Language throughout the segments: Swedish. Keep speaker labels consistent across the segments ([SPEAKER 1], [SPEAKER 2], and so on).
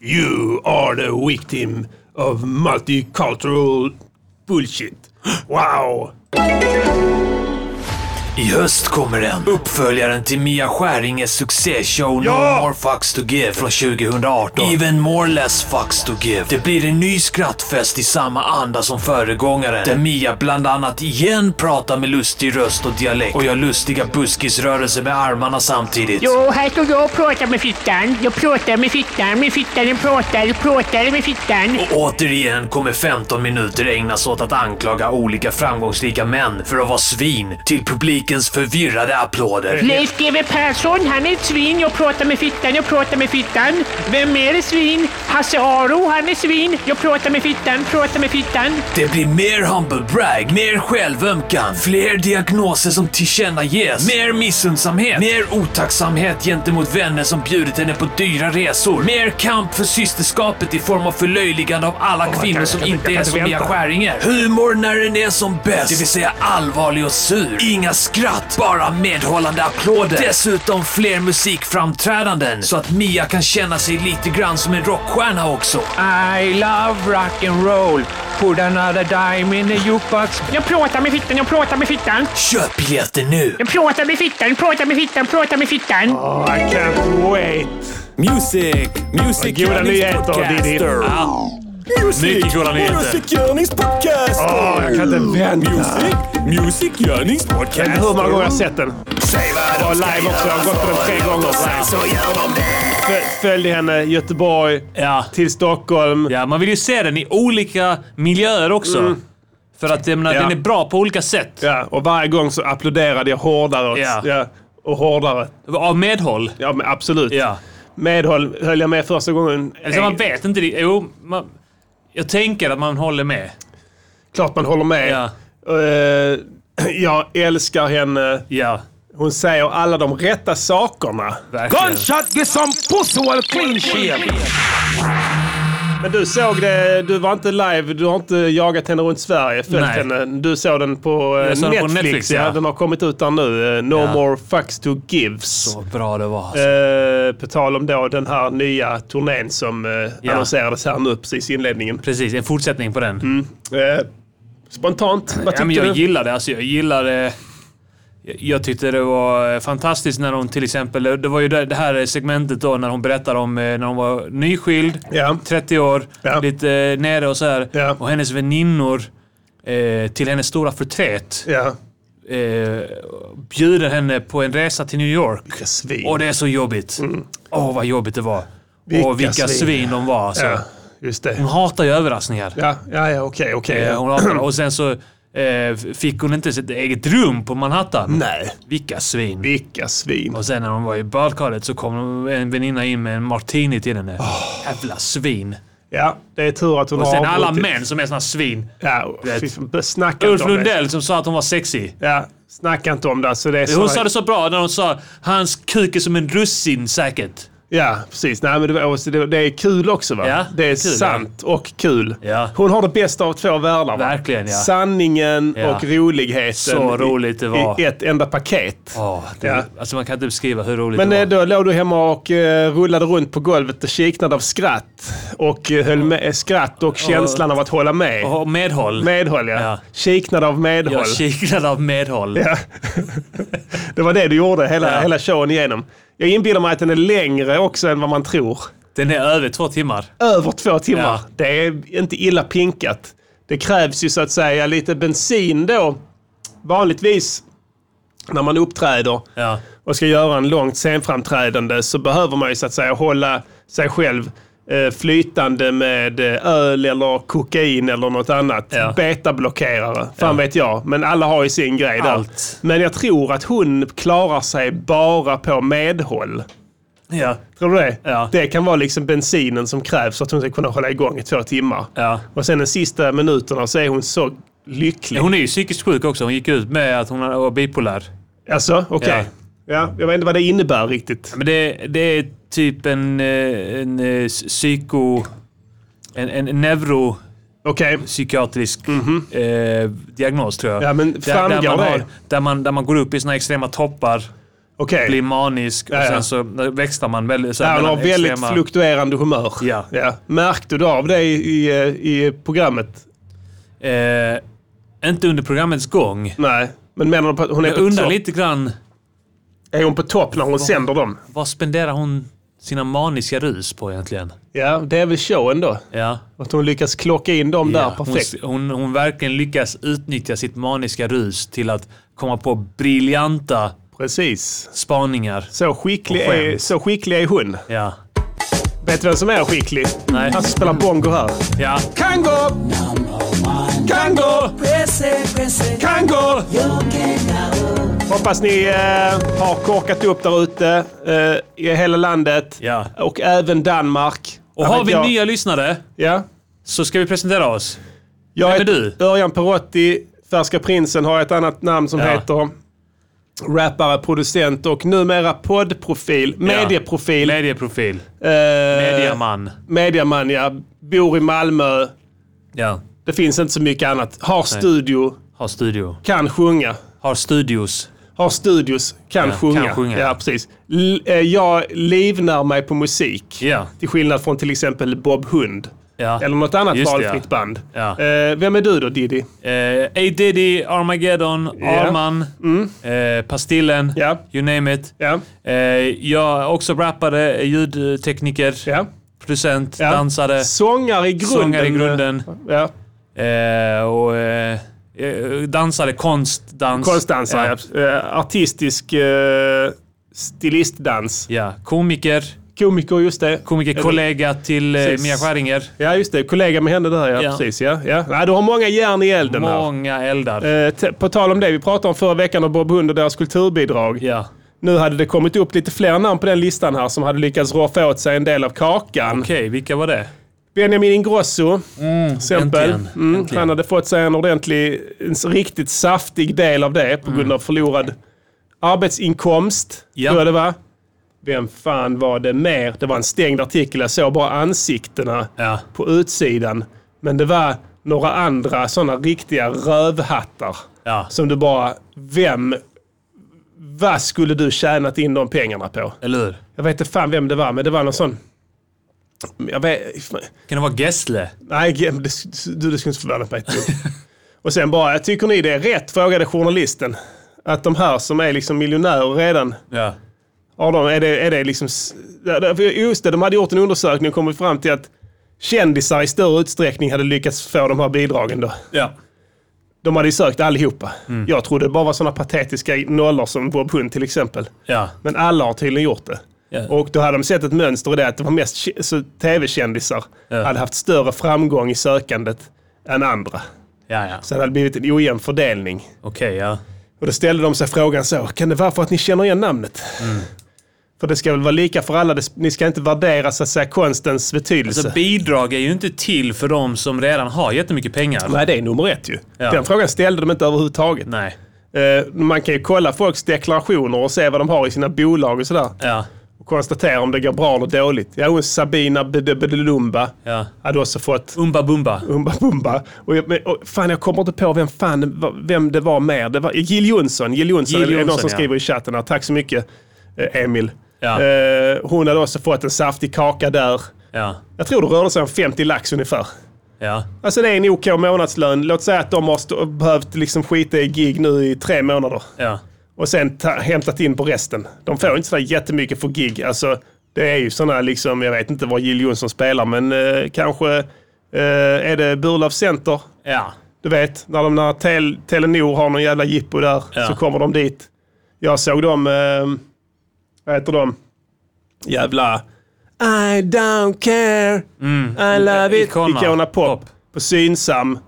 [SPEAKER 1] You are the victim of multicultural bullshit. Wow!
[SPEAKER 2] I höst kommer den. Uppföljaren till Mia Skäringes succéshow
[SPEAKER 1] Ja!
[SPEAKER 2] No More Fucks To Give från 2018. Even More Less Fucks To Give. Det blir en ny skrattfest i samma anda som föregångaren. Där Mia bland annat igen pratar med lustig röst och dialekt och gör lustiga buskisrörelser med armarna samtidigt.
[SPEAKER 3] Jo, här står jag och pratar med fittan. Jag pratar med fittan, med fittan, jag pratar, jag pratar med fittan.
[SPEAKER 2] Och återigen kommer 15 minuter ägnas åt att anklaga olika framgångsrika män för att vara svin till publikens förvirrade applåder.
[SPEAKER 3] Leif GW Persson, han är ett svin. Jag pratar med fittan, jag pratar med fittan. Vem mer är svin? Hasse Aro, han är svin. Jag pratar med fittan, pratar med fittan.
[SPEAKER 2] Det blir mer humble brag, mer självömkan, fler diagnoser som tillkännages, mer missundsamhet, mer otacksamhet gentemot vänner som bjudit henne på dyra resor, mer kamp för systerskapet i form av förlöjligande av alla kvinnor
[SPEAKER 1] jag
[SPEAKER 2] som
[SPEAKER 1] kan-
[SPEAKER 2] inte
[SPEAKER 1] jag
[SPEAKER 2] är
[SPEAKER 1] kan
[SPEAKER 2] som Mia
[SPEAKER 1] vänta.
[SPEAKER 2] Skäringer. Humor när den är som bäst, det vill säga allvarlig och sur. Inga skratt, bara medhållande applåder. Dessutom fler musikframträdanden så att Mia kan känna sig lite grann som en rockstjärna också.
[SPEAKER 3] I love rock and roll. Put another dime in the jukebox. Jag pratar med fittan, jag pratar med fittan.
[SPEAKER 2] Köp biljetter nu!
[SPEAKER 3] Jag pratar med fittan, pratar med fittan, pratar med fittan.
[SPEAKER 1] Oh, I can't wait!
[SPEAKER 4] Music! Music
[SPEAKER 1] Goda nyheter, Diddy.
[SPEAKER 5] Ah.
[SPEAKER 4] Mycket
[SPEAKER 2] goda nyheter.
[SPEAKER 4] Musikgörningspodcast!
[SPEAKER 5] Oh,
[SPEAKER 1] Åh, jag kan inte vänta.
[SPEAKER 4] Music! Musikgörningspodcast!
[SPEAKER 1] Jag vet inte hur många gånger jag har sett den.
[SPEAKER 5] Oh,
[SPEAKER 1] Och live också. Jag har gått på den tre gånger. Fö- Följde henne Göteborg
[SPEAKER 6] Ja.
[SPEAKER 1] till Stockholm.
[SPEAKER 6] ja, man vill ju se den i olika miljöer också. För att jag menar,
[SPEAKER 1] Ja.
[SPEAKER 6] den är bra på olika sätt.
[SPEAKER 1] Ja, och varje gång så applåderade jag hårdare. Och,
[SPEAKER 6] Ja.
[SPEAKER 1] ja, och hårdare.
[SPEAKER 6] Av medhåll.
[SPEAKER 1] Ja, men absolut.
[SPEAKER 6] Ja.
[SPEAKER 1] Medhåll höll jag med första gången.
[SPEAKER 6] Alltså, man
[SPEAKER 1] Eh,
[SPEAKER 6] vet inte. det- Jo, man, jag tänker att man håller med.
[SPEAKER 1] Klart man håller med.
[SPEAKER 6] Ja.
[SPEAKER 1] Eh, jag älskar henne.
[SPEAKER 6] Ja,
[SPEAKER 1] Hon säger alla de rätta sakerna.
[SPEAKER 6] verkligen.
[SPEAKER 4] get some pussy while clean shit!
[SPEAKER 1] Men du såg det, du var inte live, du har inte jagat henne runt Sverige, följt
[SPEAKER 6] Nej.
[SPEAKER 1] henne. Du såg den på eh,
[SPEAKER 6] Jag såg den
[SPEAKER 1] Netflix.
[SPEAKER 6] på Netflix,
[SPEAKER 1] ja.
[SPEAKER 6] ja.
[SPEAKER 1] Den har kommit ut där nu. eh, No
[SPEAKER 6] Ja.
[SPEAKER 1] more fucks to gives.
[SPEAKER 6] Så bra det var. alltså.
[SPEAKER 1] Eh, på tal om då den här nya turnén som eh,
[SPEAKER 6] Ja.
[SPEAKER 1] annonserades här nu precis i inledningen.
[SPEAKER 6] Precis, en fortsättning på den.
[SPEAKER 1] Eh, spontant, vad
[SPEAKER 6] Ja,
[SPEAKER 1] tyckte
[SPEAKER 6] men jag
[SPEAKER 1] du?
[SPEAKER 6] gillar det. Alltså, jag gillar det. Jag- Jag tyckte det var eh, fantastiskt när hon till exempel, eh, det var ju det det här segmentet då när hon berättade om eh, när hon var nyskild,
[SPEAKER 1] Ja.
[SPEAKER 6] 30 år,
[SPEAKER 1] Ja.
[SPEAKER 6] lite eh, nere och så här.
[SPEAKER 1] Ja.
[SPEAKER 6] Och hennes väninnor, eh, till hennes stora förtret,
[SPEAKER 1] Ja,
[SPEAKER 6] eh, bjuder henne på en resa till New York.
[SPEAKER 1] vilka svin. Mm.
[SPEAKER 6] Och det är så jobbigt. Åh, vad jobbigt det var.
[SPEAKER 1] Vilka
[SPEAKER 6] och vilka svin,
[SPEAKER 1] svin.
[SPEAKER 6] de var alltså.
[SPEAKER 1] ja, just det.
[SPEAKER 6] Hon hatar ju överraskningar.
[SPEAKER 1] Ja, ja, ja okej, okej.
[SPEAKER 6] Eh,
[SPEAKER 1] ja.
[SPEAKER 6] Hon hatade. Och sen så eh, fick hon inte sitt eget rum på Manhattan.
[SPEAKER 1] Nej,
[SPEAKER 6] Vilka svin.
[SPEAKER 1] vilka svin.
[SPEAKER 6] Och sen när hon var i badkaret så kom en väninna in med en martini till henne. Jävla svin.
[SPEAKER 1] Ah. Ja, det är tur att hon
[SPEAKER 6] Och
[SPEAKER 1] har
[SPEAKER 6] sen alla
[SPEAKER 1] avbrutit.
[SPEAKER 6] män som är såna svin.
[SPEAKER 1] Ja,
[SPEAKER 6] vet.
[SPEAKER 1] fy fan, snacka inte
[SPEAKER 6] Ulf
[SPEAKER 1] om det.
[SPEAKER 6] Lundell som sa att hon var sexy.
[SPEAKER 1] Ja, snacka inte om det. Alltså det är
[SPEAKER 6] Hon
[SPEAKER 1] så-
[SPEAKER 6] sa det så bra när hon sa hans kuk är som en russin säkert.
[SPEAKER 1] Ja, precis. Nej, men det, var- alltså, det, det är kul också va?
[SPEAKER 6] Ja,
[SPEAKER 1] det är
[SPEAKER 6] kul,
[SPEAKER 1] sant och kul.
[SPEAKER 6] Ja.
[SPEAKER 1] Hon har det bästa av två världar. Va?
[SPEAKER 6] Verkligen, ja.
[SPEAKER 1] Sanningen
[SPEAKER 6] Ja.
[SPEAKER 1] och roligheten.
[SPEAKER 6] Så
[SPEAKER 1] i-
[SPEAKER 6] roligt det var.
[SPEAKER 1] I ett enda paket.
[SPEAKER 6] Oh, det,
[SPEAKER 1] Ja.
[SPEAKER 6] Alltså man kan inte beskriva hur roligt
[SPEAKER 1] Men
[SPEAKER 6] det
[SPEAKER 1] eh,
[SPEAKER 6] var.
[SPEAKER 1] då låg du hemma och eh, rullade runt på golvet och kiknade av skratt. Och eh, höll med, eh, skratt och känslan av att hålla med.
[SPEAKER 6] Och medhåll.
[SPEAKER 1] Medhåll ja.
[SPEAKER 6] Ja.
[SPEAKER 1] Kiknade av medhåll.
[SPEAKER 6] Jag kiklade av medhåll.
[SPEAKER 1] Ja. det var det du gjorde hela,
[SPEAKER 6] Ja.
[SPEAKER 1] hela showen igenom. Jag inbillar mig att den är längre också än vad man tror.
[SPEAKER 6] Den är över två timmar.
[SPEAKER 1] Över två timmar.
[SPEAKER 6] Ja.
[SPEAKER 1] Det är inte illa pinkat. Det krävs ju så att säga lite bensin då. Vanligtvis när man uppträder
[SPEAKER 6] Ja.
[SPEAKER 1] och ska göra en långt scenframträdande så behöver man ju så att säga hålla sig själv eh, flytande med eh, öl eller kokain eller något annat.
[SPEAKER 6] Ja.
[SPEAKER 1] Betablockerare, fan vet jag. Men alla har ju sin grej där.
[SPEAKER 6] Allt.
[SPEAKER 1] Men jag tror att hon klarar sig bara på medhåll.
[SPEAKER 6] Ja.
[SPEAKER 1] Tror du det?
[SPEAKER 6] Ja.
[SPEAKER 1] Det kan vara liksom bensinen som krävs för att hon ska kunna hålla igång i två timmar.
[SPEAKER 6] Ja.
[SPEAKER 1] Och sen de sista minuterna så är hon så lycklig.
[SPEAKER 6] Hon är ju psykiskt sjuk också. Hon gick ut med att hon var bipolär.
[SPEAKER 1] Alltså, okej. Ja. jag vet inte vad det innebär riktigt.
[SPEAKER 6] Men det, det är typ en, eh, en eh, psyko... En, en neuropsykiatrisk
[SPEAKER 1] Okej. eh,
[SPEAKER 6] eh, diagnos tror jag.
[SPEAKER 1] Mhm. Ja, men
[SPEAKER 6] där, där,
[SPEAKER 1] framgår
[SPEAKER 6] man
[SPEAKER 1] det?
[SPEAKER 6] har, där, man, där man går upp i såna extrema toppar.
[SPEAKER 1] Okej.
[SPEAKER 6] blir manisk och
[SPEAKER 1] Ja, ja.
[SPEAKER 6] sen så eh, växlar man väldigt... Så här
[SPEAKER 1] Ja, han har
[SPEAKER 6] mellan
[SPEAKER 1] väldigt
[SPEAKER 6] extrema-
[SPEAKER 1] fluktuerande humör.
[SPEAKER 6] Ja.
[SPEAKER 1] Märkte du av det i, i, eh, i programmet?
[SPEAKER 6] eh, Inte under programmets gång.
[SPEAKER 1] Nej. Men menar du på att hon är
[SPEAKER 6] Jag
[SPEAKER 1] på
[SPEAKER 6] undrar
[SPEAKER 1] topp?
[SPEAKER 6] lite grann,
[SPEAKER 1] Är hon på topp när hon sänder dem?
[SPEAKER 6] vad spenderar hon sina maniska rus på egentligen?
[SPEAKER 1] Ja, det är väl showen då.
[SPEAKER 6] Ja.
[SPEAKER 1] Att hon lyckas klocka in dem
[SPEAKER 6] Ja,
[SPEAKER 1] där perfekt.
[SPEAKER 6] Hon, hon, hon verkligen lyckas utnyttja sitt maniska rus till att komma på briljanta
[SPEAKER 1] Precis.
[SPEAKER 6] spaningar.
[SPEAKER 1] Så skicklig,
[SPEAKER 6] Och
[SPEAKER 1] är,
[SPEAKER 6] skämt.
[SPEAKER 1] så skicklig är hon.
[SPEAKER 6] Ja.
[SPEAKER 1] Vet du vem som är skicklig?
[SPEAKER 6] Nej.
[SPEAKER 1] Han som spelar bongo här.
[SPEAKER 6] Ja.
[SPEAKER 1] Kango! Kango! Kango! Hoppas ni eh, har korkat upp där ute eh, i hela landet.
[SPEAKER 6] Ja.
[SPEAKER 1] Och även Danmark.
[SPEAKER 6] Och
[SPEAKER 1] Där
[SPEAKER 6] har
[SPEAKER 1] vet
[SPEAKER 6] vi
[SPEAKER 1] jag-
[SPEAKER 6] nya lyssnare
[SPEAKER 1] Ja.
[SPEAKER 6] så ska vi presentera oss.
[SPEAKER 1] Jag
[SPEAKER 6] Vem är
[SPEAKER 1] heter
[SPEAKER 6] du?
[SPEAKER 1] Örjan Perotti. Färska prinsen har ett annat namn som
[SPEAKER 6] Ja.
[SPEAKER 1] heter rappare, producent och numera poddprofil, medieprofil.
[SPEAKER 6] Medieprofil.
[SPEAKER 1] Eh,
[SPEAKER 6] Mediaman.
[SPEAKER 1] Mediaman, ja. Bor i Malmö.
[SPEAKER 6] Ja.
[SPEAKER 1] Det finns inte så mycket annat. Har studio,
[SPEAKER 6] Har studio.
[SPEAKER 1] kan sjunga.
[SPEAKER 6] Har studios.
[SPEAKER 1] Har studios, kan
[SPEAKER 6] Ja,
[SPEAKER 1] sjunga.
[SPEAKER 6] kan sjunga.
[SPEAKER 1] Ja, precis. L- eh, jag livnär mig på musik.
[SPEAKER 6] Ja.
[SPEAKER 1] Till skillnad från till exempel Bob Hund.
[SPEAKER 6] Ja.
[SPEAKER 1] Eller något annat
[SPEAKER 6] Just det,
[SPEAKER 1] valfritt
[SPEAKER 6] ja.
[SPEAKER 1] band.
[SPEAKER 6] Ja.
[SPEAKER 1] Eh, vem är du då Diddy?
[SPEAKER 6] Eh, A Diddy, Armageddon, Arman, eh, Pastillen,
[SPEAKER 1] Mm. Ja.
[SPEAKER 6] you name it.
[SPEAKER 1] Ja.
[SPEAKER 6] Eh, jag är också rappare, ljudtekniker,
[SPEAKER 1] Ja.
[SPEAKER 6] producent,
[SPEAKER 1] Ja.
[SPEAKER 6] dansare,
[SPEAKER 1] Sångare i grunden.
[SPEAKER 6] sångare i grunden.
[SPEAKER 1] Ja.
[SPEAKER 6] Eh, och eh, eh, dansare, konstdans.
[SPEAKER 1] Konstdansare.
[SPEAKER 6] Ja.
[SPEAKER 1] Eh, artistisk eh, stilistdans.
[SPEAKER 6] Ja, komiker.
[SPEAKER 1] Komiker, just det.
[SPEAKER 6] Komikerkollega till eh,
[SPEAKER 1] Precis.
[SPEAKER 6] Mia Skäringer.
[SPEAKER 1] Ja, just det. Kollega med henne där, ja.
[SPEAKER 6] Ja.
[SPEAKER 1] Precis, ja. ja. Nej, du har många järn i elden här.
[SPEAKER 6] Många eldar.
[SPEAKER 1] Eh, t- på tal om det, vi pratade om förra veckan om Bob Hund och deras kulturbidrag.
[SPEAKER 6] Ja.
[SPEAKER 1] Nu hade det kommit upp lite fler namn på den listan här som hade lyckats roffa åt sig en del av kakan.
[SPEAKER 6] Okej, vilka var det?
[SPEAKER 1] Benjamin Ingrosso, mm, exempel.
[SPEAKER 6] äntligen,
[SPEAKER 1] Mm,
[SPEAKER 6] äntligen.
[SPEAKER 1] Han hade fått sig en ordentlig, en s- riktigt saftig del av det på grund av förlorad arbetsinkomst.
[SPEAKER 6] Mm. Ja.
[SPEAKER 1] Tror jag det var. Vem fan var det mer? Det var en stängd artikel. Jag såg bara ansiktena
[SPEAKER 6] Ja.
[SPEAKER 1] på utsidan. Men det var några andra sådana riktiga rövhattar.
[SPEAKER 6] Ja.
[SPEAKER 1] Som du bara, vem, vad skulle du tjänat in de pengarna på?
[SPEAKER 6] Eller hur?
[SPEAKER 1] Jag vet inte fan vem det var, men det var någon sån... Jag vet,
[SPEAKER 6] Kan det vara Gessle?
[SPEAKER 1] Nej, ge- det, du, det skulle inte förvåna mig ett dugg. Och sen bara, tycker ni det är rätt? Frågade journalisten. Att de här som är liksom miljonärer redan,
[SPEAKER 6] Ja.
[SPEAKER 1] av dem, är det, är det liksom... s- ja, det- för Just det, de hade gjort en undersökning och kommit fram till att kändisar i större utsträckning hade lyckats få de här bidragen då.
[SPEAKER 6] Ja.
[SPEAKER 1] De hade ju sökt allihopa. Jag trodde det bara var sådana patetiska nollor som Bob Hund till exempel.
[SPEAKER 6] Ja.
[SPEAKER 1] Men alla har tydligen gjort det.
[SPEAKER 6] Ja.
[SPEAKER 1] Och då hade de sett ett mönster i det att det var mest k- så tv-kändisar
[SPEAKER 6] Ja.
[SPEAKER 1] hade haft större framgång i sökandet än andra.
[SPEAKER 6] Ja, ja.
[SPEAKER 1] Så det hade blivit en ojämn fördelning.
[SPEAKER 6] Okej, ja.
[SPEAKER 1] Och då ställde de sig frågan så, kan det vara för att ni känner igen namnet?
[SPEAKER 6] Mm.
[SPEAKER 1] För det ska väl vara lika för alla, det- ni ska inte värdera så att säga, konstens betydelse.
[SPEAKER 6] Så bidrag är ju inte till för de som redan har jättemycket pengar.
[SPEAKER 1] Nej, det är nummer ett ju.
[SPEAKER 6] Ja.
[SPEAKER 1] Den frågan ställde de inte överhuvudtaget.
[SPEAKER 6] Nej.
[SPEAKER 1] Eh, man kan ju kolla folks deklarationer och se vad de har i sina bolag och sådär.
[SPEAKER 6] Ja.
[SPEAKER 1] och konstatera om det går bra eller dåligt. Ja, hon Sabina Bedelumba
[SPEAKER 6] Ja.
[SPEAKER 1] hade också fått
[SPEAKER 6] Umba Bumba.
[SPEAKER 1] Umba Bumba. Och, jag- men- och, fan, jag kommer inte på vem, fan, vem det var mer. Det var Jill Johnson. Jill Johnson,
[SPEAKER 6] Jill
[SPEAKER 1] är det någon
[SPEAKER 6] Johnson,
[SPEAKER 1] som
[SPEAKER 6] ja.
[SPEAKER 1] skriver i chatten här. Tack så mycket, eh, Emil.
[SPEAKER 6] Ja.
[SPEAKER 1] Eh, hon hade också fått en saftig kaka där.
[SPEAKER 6] Ja.
[SPEAKER 1] Jag tror det rörde sig om 50 lax ungefär.
[SPEAKER 6] Ja.
[SPEAKER 1] Alltså det är en OK månadslön. Låt säga att de har stå- behövt liksom skita i gig nu i tre månader
[SPEAKER 6] Ja.
[SPEAKER 1] och sen ta, hämtat in på resten. De får inte sådär jättemycket för gig. Alltså, det är ju sådana, liksom, jag vet inte vad Jill Johnson spelar, men eh, kanske eh, är det Burlöv Center.
[SPEAKER 6] Ja.
[SPEAKER 1] Du vet, när, de, när tel, Telenor har någon jävla jippo där
[SPEAKER 6] Ja.
[SPEAKER 1] så kommer de dit. Jag såg dem, eh, vad heter de? Jävla I don't care, I love it.
[SPEAKER 6] Icona.
[SPEAKER 1] Icona Pop.
[SPEAKER 6] Pop.
[SPEAKER 1] På Synsam,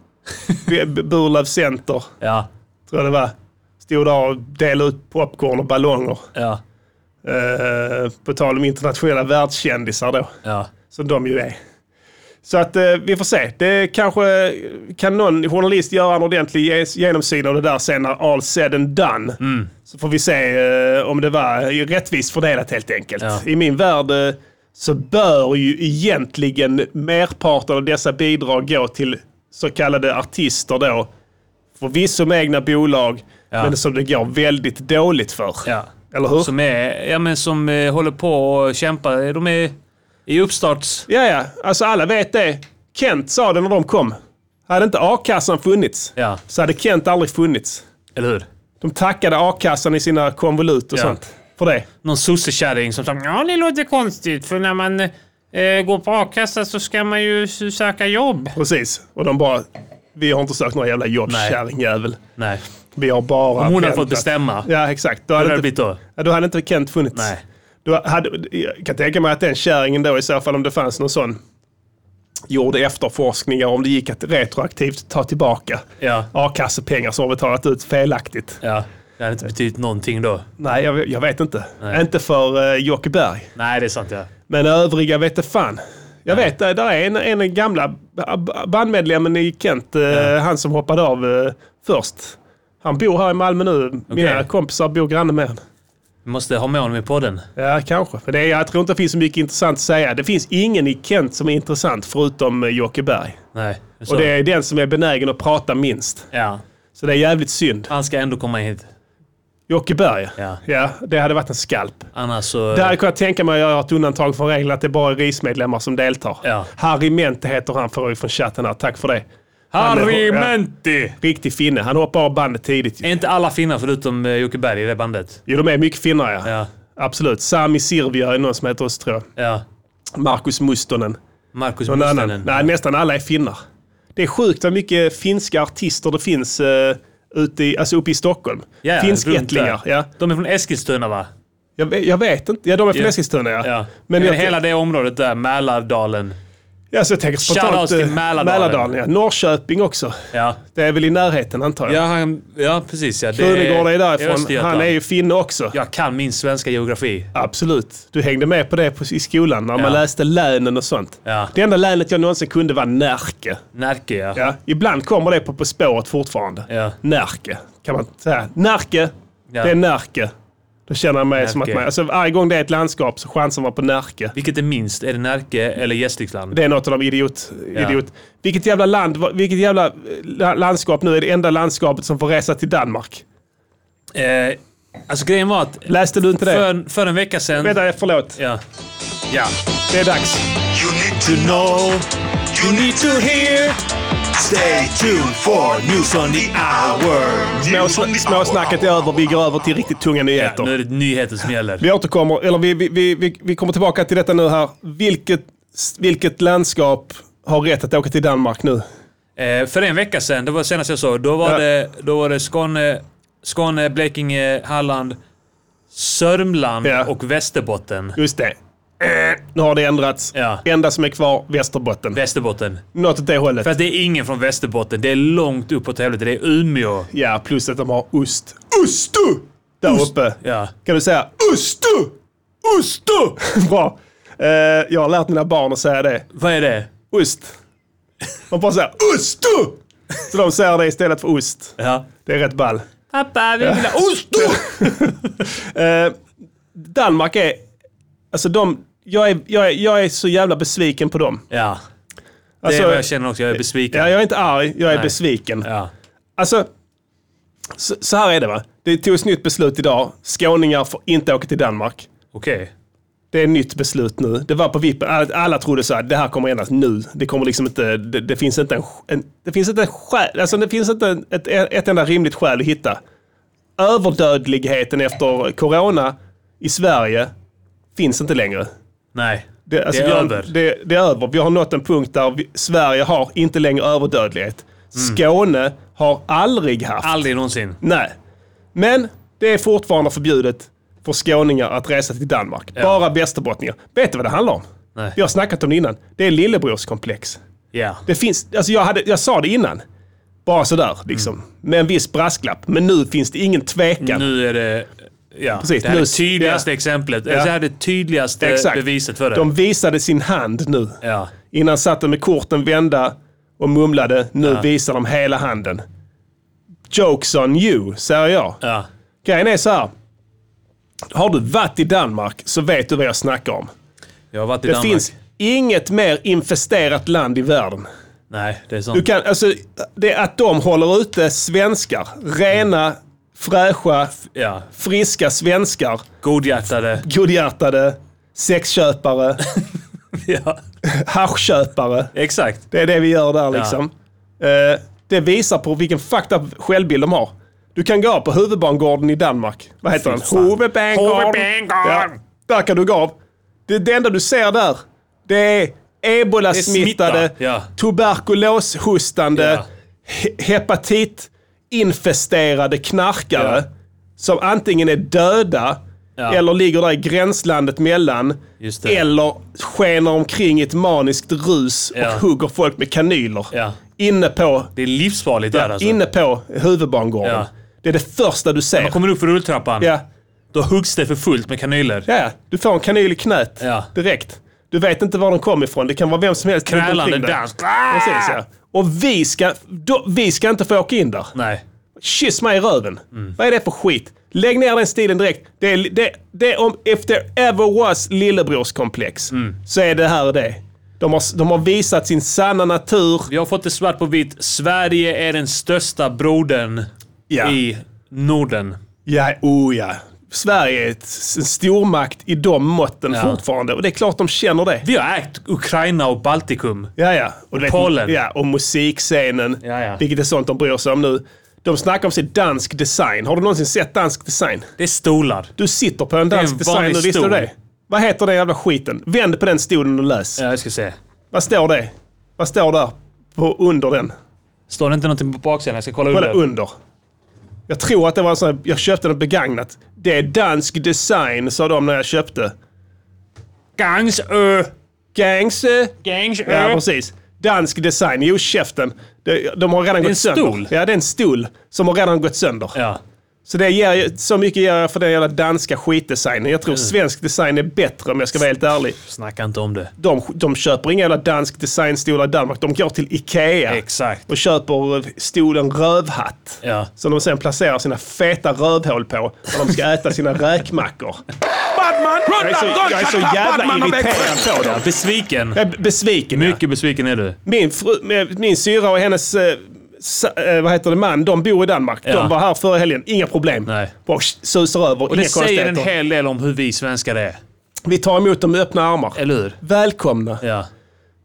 [SPEAKER 1] B- B- Burlöv Center,
[SPEAKER 6] Ja.
[SPEAKER 1] tror jag det var. Stod där och delade ut popcorn och ballonger.
[SPEAKER 6] Ja.
[SPEAKER 1] Eh, på tal om internationella världskändisar då,
[SPEAKER 6] Ja.
[SPEAKER 1] som de ju är. Så att eh, vi får se. Det kanske kan någon journalist göra en ordentlig ge- genomsyn av det där sen när all said and done.
[SPEAKER 6] Mm.
[SPEAKER 1] Så får vi se eh, om det var eh, rättvist fördelat helt enkelt.
[SPEAKER 6] Ja.
[SPEAKER 1] I min värld eh, så bör ju egentligen merparten av dessa bidrag gå till så kallade artister då. Förvisso med egna bolag,
[SPEAKER 6] Ja.
[SPEAKER 1] men som det går väldigt dåligt för.
[SPEAKER 6] Ja.
[SPEAKER 1] Eller hur?
[SPEAKER 6] Som är, ja men som eh, håller på och kämpar. De är i uppstarts...
[SPEAKER 1] Ja, ja. Alltså alla vet det. Kent sa det när de kom. Hade inte a-kassan funnits
[SPEAKER 6] Ja.
[SPEAKER 1] så hade Kent aldrig funnits.
[SPEAKER 6] Eller hur?
[SPEAKER 1] De tackade a-kassan i sina konvolut och
[SPEAKER 6] Ja.
[SPEAKER 1] sånt. För det.
[SPEAKER 6] Någon sossekärring som sa
[SPEAKER 7] Ja, det låter konstigt för när man eh, går på a-kassa så ska man ju s- söka jobb.
[SPEAKER 1] Precis. Och de bara, vi har inte sökt några jävla jobb,
[SPEAKER 6] Nej.
[SPEAKER 1] kärringjävel.
[SPEAKER 6] nej.
[SPEAKER 1] Vi har bara...
[SPEAKER 6] Om hon hade
[SPEAKER 1] pendlat."
[SPEAKER 6] fått bestämma.
[SPEAKER 1] Ja, exakt. Då
[SPEAKER 6] Hur
[SPEAKER 1] hade,
[SPEAKER 6] hade det
[SPEAKER 1] inte,
[SPEAKER 6] blivit då?
[SPEAKER 1] ja, då hade inte Kent funnits.
[SPEAKER 6] Nej.
[SPEAKER 1] Då hade, jag kan tänka mig att den kärringen då i så fall, om det fanns någon sån, gjorde efterforskningar om det gick att retroaktivt ta tillbaka
[SPEAKER 6] Ja.
[SPEAKER 1] a-kassepengar som har betalat ut felaktigt.
[SPEAKER 6] Ja. Det hade inte betytt någonting då.
[SPEAKER 1] Nej, jag, jag vet inte. Inte för uh, Jocke Berg.
[SPEAKER 6] Nej, det är sant ja.
[SPEAKER 1] Men övriga vet det fan. Jag vet, eh, där är en, en gamla ba- bandmedlemmen i Kent, eh, han som hoppade av eh, först. Han bor här i Malmö nu. Mina
[SPEAKER 6] Okej.
[SPEAKER 1] kompisar bor granne med honom.
[SPEAKER 6] Vi måste ha med honom i podden.
[SPEAKER 1] Ja, kanske. Men det, är- jag tror inte det finns så mycket intressant att säga. Det finns ingen i Kent som är intressant förutom eh, Jocke Berg.
[SPEAKER 6] Nej. Så.
[SPEAKER 1] Och det är den som är benägen att prata minst.
[SPEAKER 6] Ja.
[SPEAKER 1] Så det är jävligt synd.
[SPEAKER 6] Han ska ändå komma hit.
[SPEAKER 1] Jocke Berg,
[SPEAKER 6] Ja.
[SPEAKER 1] ja det hade varit en skalp.
[SPEAKER 6] Annars så...
[SPEAKER 1] Där kan jag tänka mig att göra ett undantag från regeln att det är bara är RIS-medlemmar som deltar.
[SPEAKER 6] Ja.
[SPEAKER 1] Harry Mente heter han för från chatten här. Tack för det.
[SPEAKER 6] Harry
[SPEAKER 1] Han är- ja,
[SPEAKER 6] Menti!
[SPEAKER 1] Riktig finne. Han hoppar av bandet tidigt.
[SPEAKER 6] Är inte alla finnar förutom eh, Jocke Berg i det bandet?
[SPEAKER 1] Jo, de är mycket finnar ja.
[SPEAKER 6] Ja.
[SPEAKER 1] Absolut. Sami Sirvia är någon som heter oss tror jag.
[SPEAKER 6] Ja.
[SPEAKER 1] Marcus Mustonen.
[SPEAKER 6] Marcus
[SPEAKER 1] Någon annan.
[SPEAKER 6] Mustonen.
[SPEAKER 1] Nej, nästan alla är finnar. Det är sjukt vad mycket finska artister det finns uh, ute i, alltså uppe i Stockholm.
[SPEAKER 6] Ja,
[SPEAKER 1] Finskättlingar.
[SPEAKER 6] runt där.
[SPEAKER 1] Ja.
[SPEAKER 6] De är från Eskilstuna va?
[SPEAKER 1] Jag, vet- jag vet inte. Ja, de är från
[SPEAKER 6] Ja.
[SPEAKER 1] Eskilstuna ja.
[SPEAKER 6] Ja.
[SPEAKER 1] Men
[SPEAKER 6] Men
[SPEAKER 1] jag-
[SPEAKER 6] hela det området där, Mälardalen.
[SPEAKER 1] Ja, så jag tänker spontant...
[SPEAKER 6] Shoutouts till
[SPEAKER 1] eh,
[SPEAKER 6] Mälardalen.
[SPEAKER 1] Mälardalen ja. Norrköping också.
[SPEAKER 6] Ja.
[SPEAKER 1] Det är väl i närheten antar jag.
[SPEAKER 6] Ja, han, ja precis ja. Det
[SPEAKER 1] Krunegård är
[SPEAKER 6] i
[SPEAKER 1] därifrån.
[SPEAKER 6] Östergötland.
[SPEAKER 1] Han är ju finne också.
[SPEAKER 6] Jag kan min svenska geografi.
[SPEAKER 1] Absolut. Du hängde med på det på, i skolan när
[SPEAKER 6] Ja.
[SPEAKER 1] man läste länen och sånt.
[SPEAKER 6] Ja.
[SPEAKER 1] Det enda länet jag någonsin kunde var Närke.
[SPEAKER 6] Närke ja.
[SPEAKER 1] Ja. Ibland kommer det på På spåret fortfarande.
[SPEAKER 6] Ja.
[SPEAKER 1] Närke, kan man säga. Närke,
[SPEAKER 6] Ja.
[SPEAKER 1] det är Närke. Då känner jag mig som att
[SPEAKER 6] Närke.
[SPEAKER 1] man, alltså, varje gång det är ett landskap så chansar man på Närke.
[SPEAKER 6] Vilket är minst? Är det Närke eller Gästrikland?
[SPEAKER 1] Det är något av de idiot,
[SPEAKER 6] Ja.
[SPEAKER 1] idiot. Vilket jävla land, vilket jävla eh, la- landskap nu är det enda landskapet som får resa till Danmark.
[SPEAKER 6] Eh, alltså grejen var att
[SPEAKER 1] Läste du inte det?
[SPEAKER 6] för, för en vecka sedan...
[SPEAKER 1] Vänta, förlåt.
[SPEAKER 6] Ja.
[SPEAKER 1] Ja, det är dags.
[SPEAKER 5] You need to know, you need to hear. Stay tuned for news on the hour.
[SPEAKER 1] Småsna- Småsnacket är över. Vi går över till riktigt tunga nyheter.
[SPEAKER 6] Nu är det nyheter som gäller.
[SPEAKER 1] Vi återkommer, eller vi, vi, vi, vi, vi kommer tillbaka till detta nu här. Vilket, vilket landskap har rätt att åka till Danmark nu?
[SPEAKER 6] Eh, för en vecka sedan, det var senast jag såg, då var,
[SPEAKER 1] Ja.
[SPEAKER 6] det, då var det Skåne, Skåne, Blekinge, Halland, Sörmland
[SPEAKER 1] Ja.
[SPEAKER 6] och Västerbotten.
[SPEAKER 1] Just det. Eh, Nu har det ändrats.
[SPEAKER 6] Ja.
[SPEAKER 1] Enda som är kvar, Västerbotten.
[SPEAKER 6] Västerbotten.
[SPEAKER 1] Något åt det hållet.
[SPEAKER 6] För att det är ingen från Västerbotten. Det är långt uppåt helvete. Det är Umeå.
[SPEAKER 1] Ja, plus att de har ost. Ostu! Där uppe.
[SPEAKER 6] Ja.
[SPEAKER 1] Kan du säga ostu? Ostu! Bra. Eh, jag har lärt mina barn att säga det.
[SPEAKER 6] Vad är det?
[SPEAKER 1] Ost. Man bara säger ostu! Så de säger det istället för ost.
[SPEAKER 6] Ja.
[SPEAKER 1] Det är rätt ball.
[SPEAKER 6] Pappa, vi vill ha ost!
[SPEAKER 1] Eh, Danmark är... Alltså de... Jag är, jag, är, jag är så jävla besviken på dem.
[SPEAKER 6] Ja. Det
[SPEAKER 1] Alltså,
[SPEAKER 6] är vad jag känner också. Jag är besviken.
[SPEAKER 1] ja, jag är inte arg, jag är
[SPEAKER 6] Nej.
[SPEAKER 1] besviken.
[SPEAKER 6] Ja.
[SPEAKER 1] Alltså, så, så här är det va. Det togs nytt beslut idag. Skåningar får inte åka till Danmark.
[SPEAKER 6] Okej.
[SPEAKER 1] Det är ett nytt beslut nu. Det var på vippen. Alla, alla trodde så här, det här kommer ändras nu. Det kommer liksom inte, det, det finns inte en, en det finns inte en skäl, alltså det finns inte en, ett, ett enda rimligt skäl att hitta. Överdödligheten efter corona i Sverige finns inte längre.
[SPEAKER 6] Nej.
[SPEAKER 1] Det, alltså,
[SPEAKER 6] är
[SPEAKER 1] vi har,
[SPEAKER 6] över.
[SPEAKER 1] Det, det är över. Vi har nått en punkt där vi, Sverige har inte längre överdödlighet.
[SPEAKER 6] Mm.
[SPEAKER 1] Skåne har aldrig haft.
[SPEAKER 6] Aldrig någonsin.
[SPEAKER 1] Nej. Men det är fortfarande förbjudet för skåningar att resa till Danmark. Bara västerbottningar. Vet du vad det handlar om?
[SPEAKER 6] Nej.
[SPEAKER 1] Vi har snackat om det innan. Det är lillebrorskomplex.
[SPEAKER 6] Ja.
[SPEAKER 1] Det finns, alltså jag, hade, jag sa det innan. Bara sådär liksom. Med en viss brasklapp. Men nu finns det ingen tvekan.
[SPEAKER 6] Mm. Nu är det... Ja.
[SPEAKER 1] Precis,
[SPEAKER 6] Det här är
[SPEAKER 1] nu-
[SPEAKER 6] det tydligaste exemplet. Alltså,
[SPEAKER 1] Ja.
[SPEAKER 6] Det här är det tydligaste
[SPEAKER 1] Exakt.
[SPEAKER 6] beviset för det.
[SPEAKER 1] De visade sin hand nu.
[SPEAKER 6] Ja.
[SPEAKER 1] Innan satt de med korten vända och mumlade. Nu visar de hela handen. Jokes on you, säger jag.
[SPEAKER 6] Ja.
[SPEAKER 1] Grejen är så här. Har du varit i Danmark så vet du vad jag snackar om.
[SPEAKER 6] Jag har varit i
[SPEAKER 1] Det
[SPEAKER 6] Danmark.
[SPEAKER 1] finns inget mer infesterat land i världen.
[SPEAKER 6] Nej, det är
[SPEAKER 1] Du
[SPEAKER 6] sant.
[SPEAKER 1] kan, alltså, det är att de håller ute svenskar, rena fräscha,
[SPEAKER 6] Ja.
[SPEAKER 1] friska svenskar.
[SPEAKER 6] Godhjärtade.
[SPEAKER 1] Godhjärtade, sexköpare,
[SPEAKER 6] Ja.
[SPEAKER 1] haschköpare.
[SPEAKER 6] Exakt.
[SPEAKER 1] Det är det vi gör där liksom. Eh, det visar på vilken fucked up självbild de har. Du kan gå på huvudbangården i Danmark. Vad heter den? Huvudbangården. Ja, där kan du gå av. Det, det enda du ser där, det är
[SPEAKER 6] Det är
[SPEAKER 1] ebola-smittade,
[SPEAKER 6] smitta, ja.
[SPEAKER 1] tuberkuloshustande,
[SPEAKER 6] Ja.
[SPEAKER 1] he- hepatit-infesterade knarkare
[SPEAKER 6] Ja.
[SPEAKER 1] som antingen är döda
[SPEAKER 6] Ja.
[SPEAKER 1] eller ligger där i gränslandet mellan
[SPEAKER 6] Just det.
[SPEAKER 1] eller skenar omkring i ett maniskt rus
[SPEAKER 6] Ja.
[SPEAKER 1] och hugger folk med kanyler.
[SPEAKER 6] Ja.
[SPEAKER 1] Inne på,
[SPEAKER 6] Det är livsfarligt där alltså.
[SPEAKER 1] inne på huvudbangården.
[SPEAKER 6] Ja.
[SPEAKER 1] Det är det första du ser.
[SPEAKER 6] Kommer upp för rulltrappan.
[SPEAKER 1] Ja.
[SPEAKER 6] Då huggs det för fullt med kanyler.
[SPEAKER 1] ja, du får en kanyl i knät
[SPEAKER 6] Ja.
[SPEAKER 1] direkt. Du vet inte var de kommer ifrån. Det kan vara vem som helst. runt
[SPEAKER 6] Krälande
[SPEAKER 1] omkring dig.
[SPEAKER 6] dansk.
[SPEAKER 1] Precis, ja. Och vi ska, då, vi ska inte få åka in där.
[SPEAKER 6] Nej.
[SPEAKER 1] Kyss mig i röven. Vad är det för skit? Lägg ner den stilen direkt. Det är, det, det är om if there ever was lillebrorskomplex så är det här det. De har, de har visat sin sanna natur.
[SPEAKER 6] Vi har fått det svart på vitt. Sverige är den största brodern
[SPEAKER 1] Ja.
[SPEAKER 6] i Norden.
[SPEAKER 1] Ja, oh ja. Sverige är ett, en stormakt i de måtten
[SPEAKER 6] Ja.
[SPEAKER 1] fortfarande och det är klart de känner det.
[SPEAKER 6] Vi har ägt Ukraina och Baltikum.
[SPEAKER 1] Ja, ja. Och, du vet,
[SPEAKER 6] Polen.
[SPEAKER 1] Ja, och musikscenen.
[SPEAKER 6] Ja, ja.
[SPEAKER 1] Vilket är sånt de bryr sig om nu. De snackar om sin dansk design. Har du någonsin sett dansk design?
[SPEAKER 6] Det är stolar.
[SPEAKER 1] Du sitter på en dansk
[SPEAKER 6] Det är en vanlig
[SPEAKER 1] designer, visste du
[SPEAKER 6] stol.
[SPEAKER 1] det? Vad heter den jävla skiten? Vänd på den stolen och läs.
[SPEAKER 6] Ja, jag ska se.
[SPEAKER 1] Vad står det? Vad står där på, under den?
[SPEAKER 6] Står det inte någonting på baksidan? Jag ska kolla
[SPEAKER 1] Kolla
[SPEAKER 6] under.
[SPEAKER 1] under. Jag tror att det var en sån här, jag köpte den begagnat. Det är dansk design, sa de när jag köpte.
[SPEAKER 7] Gangsö.
[SPEAKER 1] Gangse.
[SPEAKER 7] Gangsö.
[SPEAKER 1] Ja, precis. Dansk design. Jo, käften. De, de har redan
[SPEAKER 6] Det är
[SPEAKER 1] gått
[SPEAKER 6] en
[SPEAKER 1] sönder.
[SPEAKER 6] stol.
[SPEAKER 1] Ja, det är en stol som har redan gått sönder.
[SPEAKER 6] Ja.
[SPEAKER 1] Så det ger, ju- så mycket ger jag för den jävla danska skitdesignen. Jag tror svensk design är bättre om jag ska vara helt ärlig.
[SPEAKER 6] Snacka inte om det.
[SPEAKER 1] de, de köper inga jävla dansk designstolar i Danmark. De går till Ikea
[SPEAKER 6] Exakt.
[SPEAKER 1] och köper stolen rövhatt.
[SPEAKER 6] Ja.
[SPEAKER 1] Som de sen placerar sina feta rövhål på när de ska äta sina räkmackor.
[SPEAKER 4] Batman!
[SPEAKER 1] Jag är så, jag är så jävla irriterad på dem.
[SPEAKER 6] Besviken.
[SPEAKER 1] Jag är besviken. ja.
[SPEAKER 6] Mycket besviken är du.
[SPEAKER 1] Min, fru, med- min syra och hennes eh, sa- eh, vad heter det, man, de bor i Danmark.
[SPEAKER 6] Ja.
[SPEAKER 1] De var här förra helgen. Inga problem.
[SPEAKER 6] Nej.
[SPEAKER 1] Bara susar över.
[SPEAKER 6] Och
[SPEAKER 1] inga
[SPEAKER 6] det säger en
[SPEAKER 1] konstigheter.
[SPEAKER 6] hel del om hur vi svenskar är.
[SPEAKER 1] Vi tar emot dem med öppna armar.
[SPEAKER 6] Eller hur?
[SPEAKER 1] Välkomna.
[SPEAKER 6] Ja.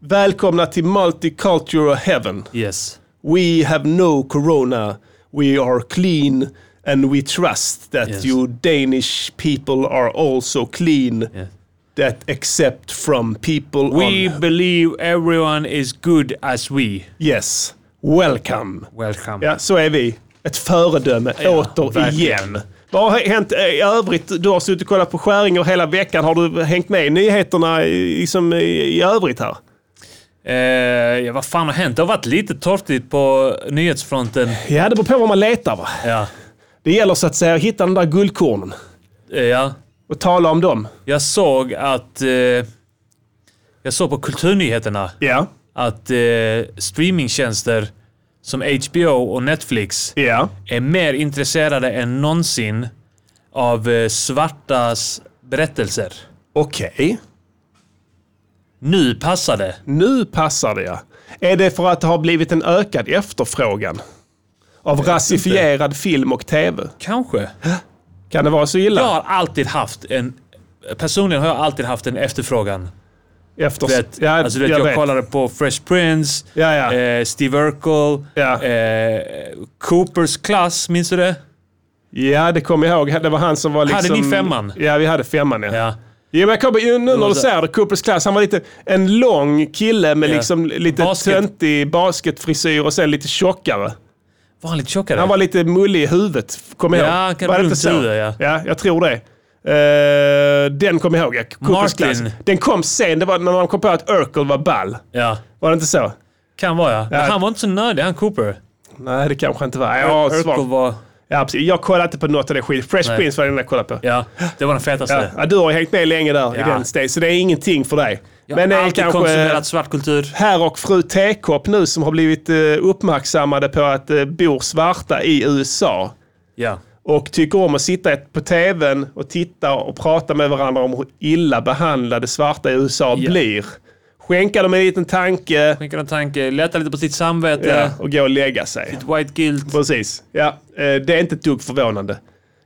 [SPEAKER 1] Välkomna till Multicultural Heaven.
[SPEAKER 6] Yes.
[SPEAKER 1] we have no corona. We are clean and we trust that
[SPEAKER 6] Yes.
[SPEAKER 1] you Danish people are also clean.
[SPEAKER 6] Yeah.
[SPEAKER 1] That except from people
[SPEAKER 6] We
[SPEAKER 1] on...
[SPEAKER 6] believe everyone is good as we.
[SPEAKER 1] Yes, welcome.
[SPEAKER 6] Welcome.
[SPEAKER 1] Ja, så är vi. Ett föredöme återigen.
[SPEAKER 6] verkligen.
[SPEAKER 1] Vad har hänt eh, i övrigt? Du har suttit och kollat på Skäringer hela veckan. Har du hängt med i nyheterna i, liksom, i, i övrigt här?
[SPEAKER 6] Eh, ja, vad fan har hänt? Det har varit lite torftigt på nyhetsfronten.
[SPEAKER 1] Ja, det beror på vad man letar va.
[SPEAKER 6] Ja.
[SPEAKER 1] Det gäller så att säga att hitta de där guldkornen
[SPEAKER 6] Eh, ja.
[SPEAKER 1] och tala om dem.
[SPEAKER 6] Jag såg att... Eh, jag såg på kulturnyheterna
[SPEAKER 1] Ja.
[SPEAKER 6] att eh, streamingtjänster som HBO och Netflix
[SPEAKER 1] Ja.
[SPEAKER 6] är mer intresserade än någonsin av eh, svartas berättelser.
[SPEAKER 1] Okej.
[SPEAKER 6] Nu passar det.
[SPEAKER 1] Nu passar det ja. Är det för att det har blivit en ökad efterfrågan? Av rasifierad film och tv?
[SPEAKER 6] Kanske.
[SPEAKER 1] Kan det vara så illa?
[SPEAKER 6] Jag har alltid haft en... Personligen har jag alltid haft en efterfrågan.
[SPEAKER 1] Efter...
[SPEAKER 6] Du vet,
[SPEAKER 1] ja,
[SPEAKER 6] alltså, du vet jag, kollade på Fresh Prince,
[SPEAKER 1] Ja, ja.
[SPEAKER 6] Eh, Steve Urkel,
[SPEAKER 1] Ja.
[SPEAKER 6] eh, Coopers klass, minns du det?
[SPEAKER 1] ja, det kommer jag ihåg. Det var han som var liksom...
[SPEAKER 6] Hade ni femman?
[SPEAKER 1] Ja, vi hade femman ja.
[SPEAKER 6] Ja.
[SPEAKER 1] Jo, men jag kommer ju nu när du säger det, Coopers klass. Han var lite en lång kille med
[SPEAKER 6] Ja.
[SPEAKER 1] liksom lite
[SPEAKER 6] Basket.
[SPEAKER 1] töntig basketfrisyr och sen lite tjockare.
[SPEAKER 6] Var han lite tjockare?
[SPEAKER 1] Han var lite mullig i huvudet, kommer jag
[SPEAKER 6] Ja, han
[SPEAKER 1] ihåg.
[SPEAKER 6] kan
[SPEAKER 1] Var det
[SPEAKER 6] runt
[SPEAKER 1] inte så?
[SPEAKER 6] huvud, ja.
[SPEAKER 1] jag tror det. Eh, den kommer jag ihåg, ja. Coopers
[SPEAKER 6] Martin.
[SPEAKER 1] klass. Den kom sen, det var när man kom på att Urkel var ball.
[SPEAKER 6] Ja,
[SPEAKER 1] Var det inte så?
[SPEAKER 6] kan vara ja. Men
[SPEAKER 1] Ja.
[SPEAKER 6] han var inte så nödig, han Cooper.
[SPEAKER 1] Nej, det kanske inte var. Jag, har
[SPEAKER 6] Urkel
[SPEAKER 1] svag-
[SPEAKER 6] var...
[SPEAKER 1] ja, precis. jag kollade inte på något av det skit. Fresh
[SPEAKER 6] Nej.
[SPEAKER 1] Prince var den jag kollade på.
[SPEAKER 6] Ja, det var den fetaste.
[SPEAKER 1] Ja. Ja, du har ju hängt med länge där i
[SPEAKER 6] Ja.
[SPEAKER 1] den steg, så det är ingenting för dig.
[SPEAKER 6] Jag har
[SPEAKER 1] det är
[SPEAKER 6] alltid konsumerat svartkultur.
[SPEAKER 1] herr och fru Tekopp nu som har blivit eh, uppmärksammade på att eh, bor svarta i USA.
[SPEAKER 6] Ja.
[SPEAKER 1] och tycker om att sitta på tvn och titta och prata med varandra om hur illa behandlade svarta i USA blir. Skänka dem en liten tanke
[SPEAKER 6] Skänka en tanke, lätta lite på sitt samvete.
[SPEAKER 1] ja, och gå och lägga sig.
[SPEAKER 6] White guilt.
[SPEAKER 1] Precis. Ja, eh, det är inte ett dugg förvånande.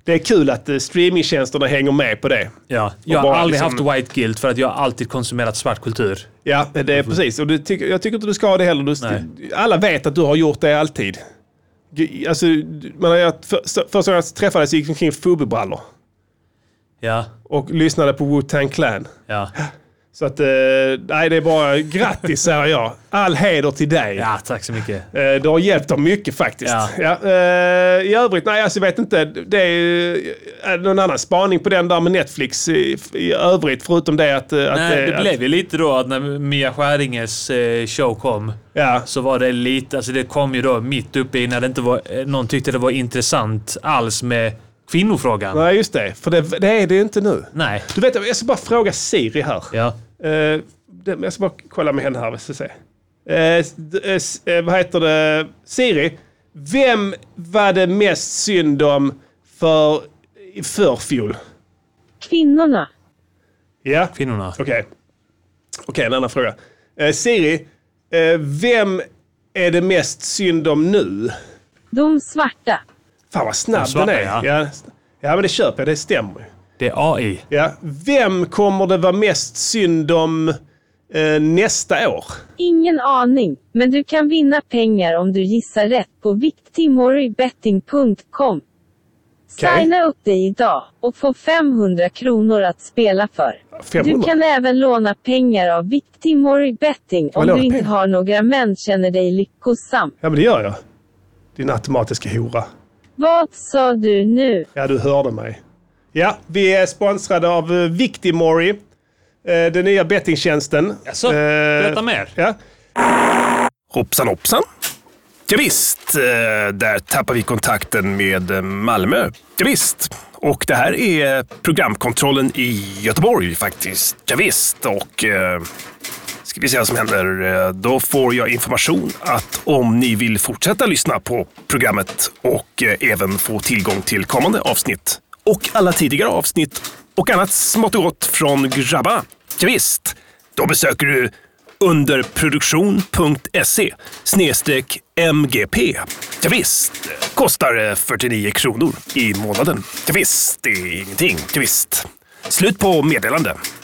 [SPEAKER 1] Det är kul att eh, streamingtjänsterna hänger med på det.
[SPEAKER 6] Ja. Jag har
[SPEAKER 1] bara
[SPEAKER 6] aldrig
[SPEAKER 1] liksom-
[SPEAKER 6] haft white guilt för att jag har alltid konsumerat svart kultur.
[SPEAKER 1] Ja, det är precis. Och du tycker, jag tycker inte du ska ha det heller. Du,
[SPEAKER 6] Nej.
[SPEAKER 1] alla vet att du har gjort det alltid. G- Alltså, du- man, jag, för, första gången jag träffades gick jag omkring i Fubu-brallor
[SPEAKER 6] Ja,
[SPEAKER 1] och lyssnade på Wu-Tang Clan.
[SPEAKER 6] ja.
[SPEAKER 1] Så att, eh, nej det är bara grattis säger jag. All heder till dig.
[SPEAKER 6] ja tack så mycket.
[SPEAKER 1] Eh, det har hjälpt dem mycket faktiskt.
[SPEAKER 6] Ja.
[SPEAKER 1] Ja, eh, I övrigt, nej alltså, jag vet inte. Det är ju är det någon annan spaning på den där med Netflix i, i övrigt, förutom det att... eh, att
[SPEAKER 6] Nej, det
[SPEAKER 1] att,
[SPEAKER 6] blev ju lite då att när Mia Skäringes eh, show kom
[SPEAKER 1] Ja,
[SPEAKER 6] så var det lite, alltså det kom ju då mitt uppe i när det inte var, eh, någon tyckte det var intressant alls med kvinnofrågan. Nej.
[SPEAKER 1] nej just det. För det, det är det inte nu. Du vet, jag ska bara fråga Siri här.
[SPEAKER 6] Mm. Ja.
[SPEAKER 1] Eh, det- jag ska bara kolla med henne här. Vi ska se. Eh, d- eh, s- eh, vad heter det? Siri, vem var det mest synd om för i förfjol?
[SPEAKER 8] Kvinnorna.
[SPEAKER 1] Ja, okej.
[SPEAKER 6] Kvinnorna.
[SPEAKER 1] Okej, en annan fråga. Eh, Siri, eh, vem är det mest synd om nu?
[SPEAKER 8] De svarta.
[SPEAKER 1] Fan vad snabb
[SPEAKER 6] Den
[SPEAKER 1] den
[SPEAKER 6] svarta,
[SPEAKER 1] är.
[SPEAKER 6] ja.
[SPEAKER 1] Ja. ja, men det köper jag. Det stämmer ju.
[SPEAKER 6] Det är AI.
[SPEAKER 1] Ja. Vem kommer det vara mest synd om eh, nästa år?
[SPEAKER 8] Ingen aning, men du kan vinna pengar om du gissar rätt på victimorybetting.com.
[SPEAKER 1] Okej.
[SPEAKER 8] Signa upp dig idag och få 500 kronor att spela för.
[SPEAKER 1] 500?
[SPEAKER 8] Du kan även låna pengar av Victimory Betting
[SPEAKER 1] man
[SPEAKER 8] om du
[SPEAKER 1] låna
[SPEAKER 8] inte
[SPEAKER 1] pengar?
[SPEAKER 8] har några män känner dig lyckosam.
[SPEAKER 1] Ja, men det gör jag. Din automatiska hora.
[SPEAKER 8] Vad sa du nu?
[SPEAKER 1] Ja, du hörde mig. Ja, vi är sponsrade av eh, Victimory. eh, Den nya bettingtjänsten.
[SPEAKER 6] Jaså?
[SPEAKER 1] Eh,
[SPEAKER 6] Berätta mer.
[SPEAKER 1] Ja.
[SPEAKER 9] Hoppsan hoppsan. Ja, visst, eh, där tappar vi kontakten med eh, Malmö. Ja, visst. Och det här är programkontrollen i Göteborg faktiskt. Ja, visst. och eh, ska vi se vad som händer. Eh, Då får jag information att om ni vill fortsätta lyssna på programmet och eh, även få tillgång till kommande avsnitt och alla tidigare avsnitt och annat smått och gott från grabbarna. Ja, visst. då besöker du underproduktion.se snedstreck MGP. Ja, visst. kostar eh, 49 kronor i månaden. Ja, visst. det är ingenting. Ja, visst. Slut på meddelande.